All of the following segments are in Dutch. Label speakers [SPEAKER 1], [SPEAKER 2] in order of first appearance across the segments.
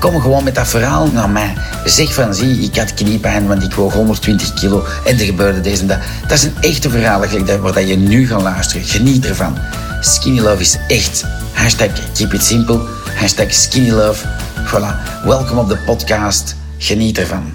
[SPEAKER 1] Kom gewoon met dat verhaal naar mij. Zeg van, zie, ik had kniepijn, want ik woog 120 kilo en er gebeurde deze en dat. Dat is een echte verhaal eigenlijk, dat- waar dat je nu gaat luisteren. Geniet ervan. Skinny Love is echt. Hashtag keep it simple. Hashtag skinny love. Voilà. Welkom op de podcast. Geniet ervan.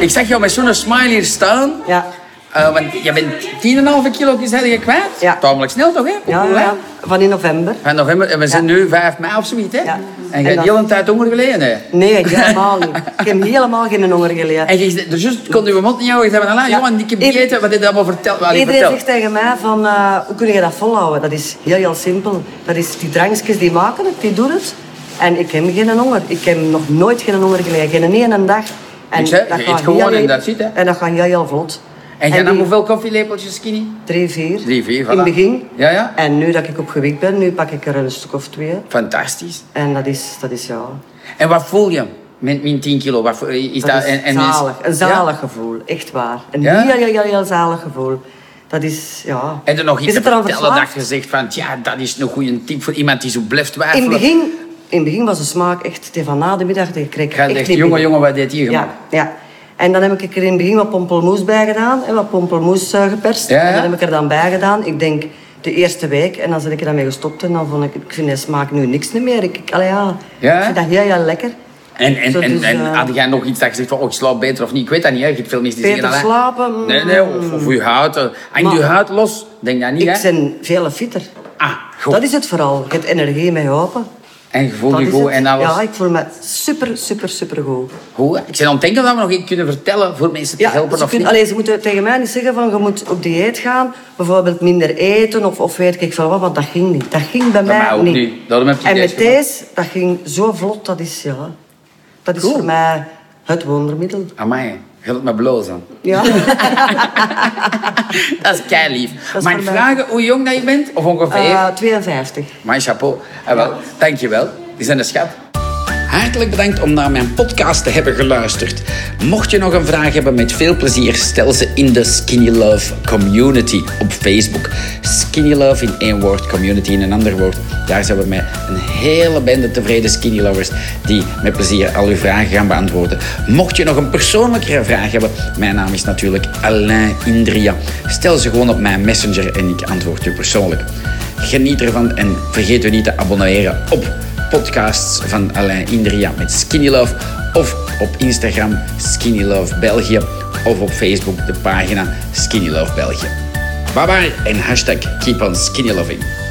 [SPEAKER 2] Ik zag jou met zo'n smile hier staan.
[SPEAKER 3] Ja.
[SPEAKER 2] Eh, want je bent 10,5 kilo zei je kwijt.
[SPEAKER 3] Ja.
[SPEAKER 2] Tamelijk snel toch, hè?
[SPEAKER 3] Ja,
[SPEAKER 2] Hoe, hè?
[SPEAKER 3] ja, van in november.
[SPEAKER 2] Van november, en we zijn nu 5 mei of zoiets, hè?
[SPEAKER 3] Ja.
[SPEAKER 2] En
[SPEAKER 3] En
[SPEAKER 2] je hebt
[SPEAKER 3] dan-
[SPEAKER 2] heel een tijd honger geleden, hè?
[SPEAKER 3] Nee, helemaal niet. Ik heb helemaal geen honger geleden.
[SPEAKER 2] En je, dus juist kon je mond niet houden. Je zei van, "Allee,
[SPEAKER 3] Ja.
[SPEAKER 2] jongen, ik heb
[SPEAKER 3] Ieder-
[SPEAKER 2] gegeten, wat heb je allemaal verteld? Allee,
[SPEAKER 3] Iedereen
[SPEAKER 2] vertel.
[SPEAKER 3] zegt tegen mij van, eh, hoe kun je dat volhouden? Dat is heel, heel simpel. Dat is die drankjes die maken het, die doen het. En ik heb geen honger. Ik heb nog nooit geen honger geleden. Geen ene dag. En
[SPEAKER 2] Niks, hè? Je eet
[SPEAKER 3] gaat
[SPEAKER 2] gewoon
[SPEAKER 3] heel,
[SPEAKER 2] en
[SPEAKER 3] heel-
[SPEAKER 2] dat zit, hè?
[SPEAKER 3] En dat gaat heel, heel vlot.
[SPEAKER 2] En jij
[SPEAKER 3] die-
[SPEAKER 2] nam hoeveel koffielepeltjes, Skinny?
[SPEAKER 3] Drie, vier.
[SPEAKER 2] Drie, vier,
[SPEAKER 3] In
[SPEAKER 2] voilà.
[SPEAKER 3] het begin.
[SPEAKER 2] Ja, ja.
[SPEAKER 3] En nu dat ik opgewikt ben, nu pak ik er een stuk of twee.
[SPEAKER 2] Fantastisch.
[SPEAKER 3] En dat is, dat is ja...
[SPEAKER 2] En wat voel je met min 10 kilo? Wat, voel- is dat,
[SPEAKER 3] Dat is
[SPEAKER 2] en, en is-
[SPEAKER 3] zalig. Een
[SPEAKER 2] Ja?
[SPEAKER 3] zalig gevoel, echt waar. Een
[SPEAKER 2] Ja?
[SPEAKER 3] heel, heel, heel, heel zalig gevoel. Dat is, ja...
[SPEAKER 2] En er nog
[SPEAKER 3] Je
[SPEAKER 2] iets te
[SPEAKER 3] zit eraan
[SPEAKER 2] vertellen dat
[SPEAKER 3] verslaafd.
[SPEAKER 2] je zegt van... Ja, dat is een goede tip voor iemand die zo blijft
[SPEAKER 3] In
[SPEAKER 2] twijfelen.
[SPEAKER 3] het begin, in het begin was de smaak echt... Die van na de middag, die kreeg ik
[SPEAKER 2] Ga
[SPEAKER 3] echt
[SPEAKER 2] je echt,
[SPEAKER 3] niet
[SPEAKER 2] jongen,
[SPEAKER 3] binnen.
[SPEAKER 2] jongen, wat deed hier
[SPEAKER 3] Ja,
[SPEAKER 2] gemaakt?
[SPEAKER 3] ja. En dan heb ik er in het begin wat pommelmoes bij gedaan. En wat pommelmoes eh, geperst.
[SPEAKER 2] Ja, ja.
[SPEAKER 3] En dan heb ik er dan bij gedaan. Ik denk de eerste week. En dan ben ik er dan mee gestopt. En dan vond ik... Ik vind die smaak nu niks niet meer. Ik, ik, allee, ja,
[SPEAKER 2] Ja, hè?
[SPEAKER 3] ik vind dat heel, heel lekker.
[SPEAKER 2] En, en,
[SPEAKER 3] Zo,
[SPEAKER 2] en,
[SPEAKER 3] dus,
[SPEAKER 2] en
[SPEAKER 3] eh,
[SPEAKER 2] had jij nog iets dat je zegt van, oh, ik slaap beter of niet? Ik weet dat niet, hè. Je hebt veel mensen die
[SPEAKER 3] Beter
[SPEAKER 2] zeggen... allee,
[SPEAKER 3] slapen, mm.
[SPEAKER 2] Nee, nee, of, of je huid. eh, Hangt
[SPEAKER 3] Maar-
[SPEAKER 2] je huid los? Denk dat niet,
[SPEAKER 3] Ik
[SPEAKER 2] hè?
[SPEAKER 3] ben veel fitter.
[SPEAKER 2] Ah, goed.
[SPEAKER 3] Dat is het vooral. Je hebt energie mee open.
[SPEAKER 2] En je voelt
[SPEAKER 3] Dat
[SPEAKER 2] je
[SPEAKER 3] is
[SPEAKER 2] goed
[SPEAKER 3] het.
[SPEAKER 2] en alles.
[SPEAKER 3] Ja, ik voel me super, super, super goed.
[SPEAKER 2] Goed, hè? Ik ben aan het denken dat we nog iets kunnen vertellen voor mensen te
[SPEAKER 3] Ja,
[SPEAKER 2] helpen
[SPEAKER 3] ze,
[SPEAKER 2] of
[SPEAKER 3] kunnen,
[SPEAKER 2] niet.
[SPEAKER 3] allee, ze moeten tegen mij niet zeggen van je moet op dieet gaan, bijvoorbeeld minder eten of, of weet ik veel wat, want dat ging niet. Dat ging bij mij,
[SPEAKER 2] mij ook
[SPEAKER 3] niet.
[SPEAKER 2] niet. Daarom heb ik
[SPEAKER 3] en
[SPEAKER 2] deze
[SPEAKER 3] met deze, dat ging zo vlot, dat is ja. Dat is
[SPEAKER 2] Cool.
[SPEAKER 3] voor mij het wondermiddel.
[SPEAKER 2] Amai, je hebt me blozen.
[SPEAKER 3] Ja.
[SPEAKER 2] Ah, dat is kei lief.
[SPEAKER 3] Dat is
[SPEAKER 2] Mag ik
[SPEAKER 3] voor mij.
[SPEAKER 2] vragen hoe jong dat je bent? Of ongeveer?
[SPEAKER 3] Eh, 52.
[SPEAKER 2] Mijn chapeau. Ah, wel, dankjewel. Die zijn een schat. Hartelijk bedankt om naar mijn podcast te hebben geluisterd. Mocht je nog een vraag hebben, met veel plezier stel ze in de Skinny Love Community op Facebook. Skinny Love in één woord, community in een ander woord. Daar zijn we met een hele bende tevreden Skinny Lovers die met plezier al uw vragen gaan beantwoorden. Mocht je nog een persoonlijkere vraag hebben, mijn naam is natuurlijk Alain Indria. Stel ze gewoon op mijn messenger en ik antwoord u persoonlijk. Geniet ervan en vergeet u niet te abonneren op podcasts van Alain Indria met Skinny Love of op Instagram Skinny Love België of op Facebook de pagina Skinny Love België. Bye bye en hashtag keep on skinny loving.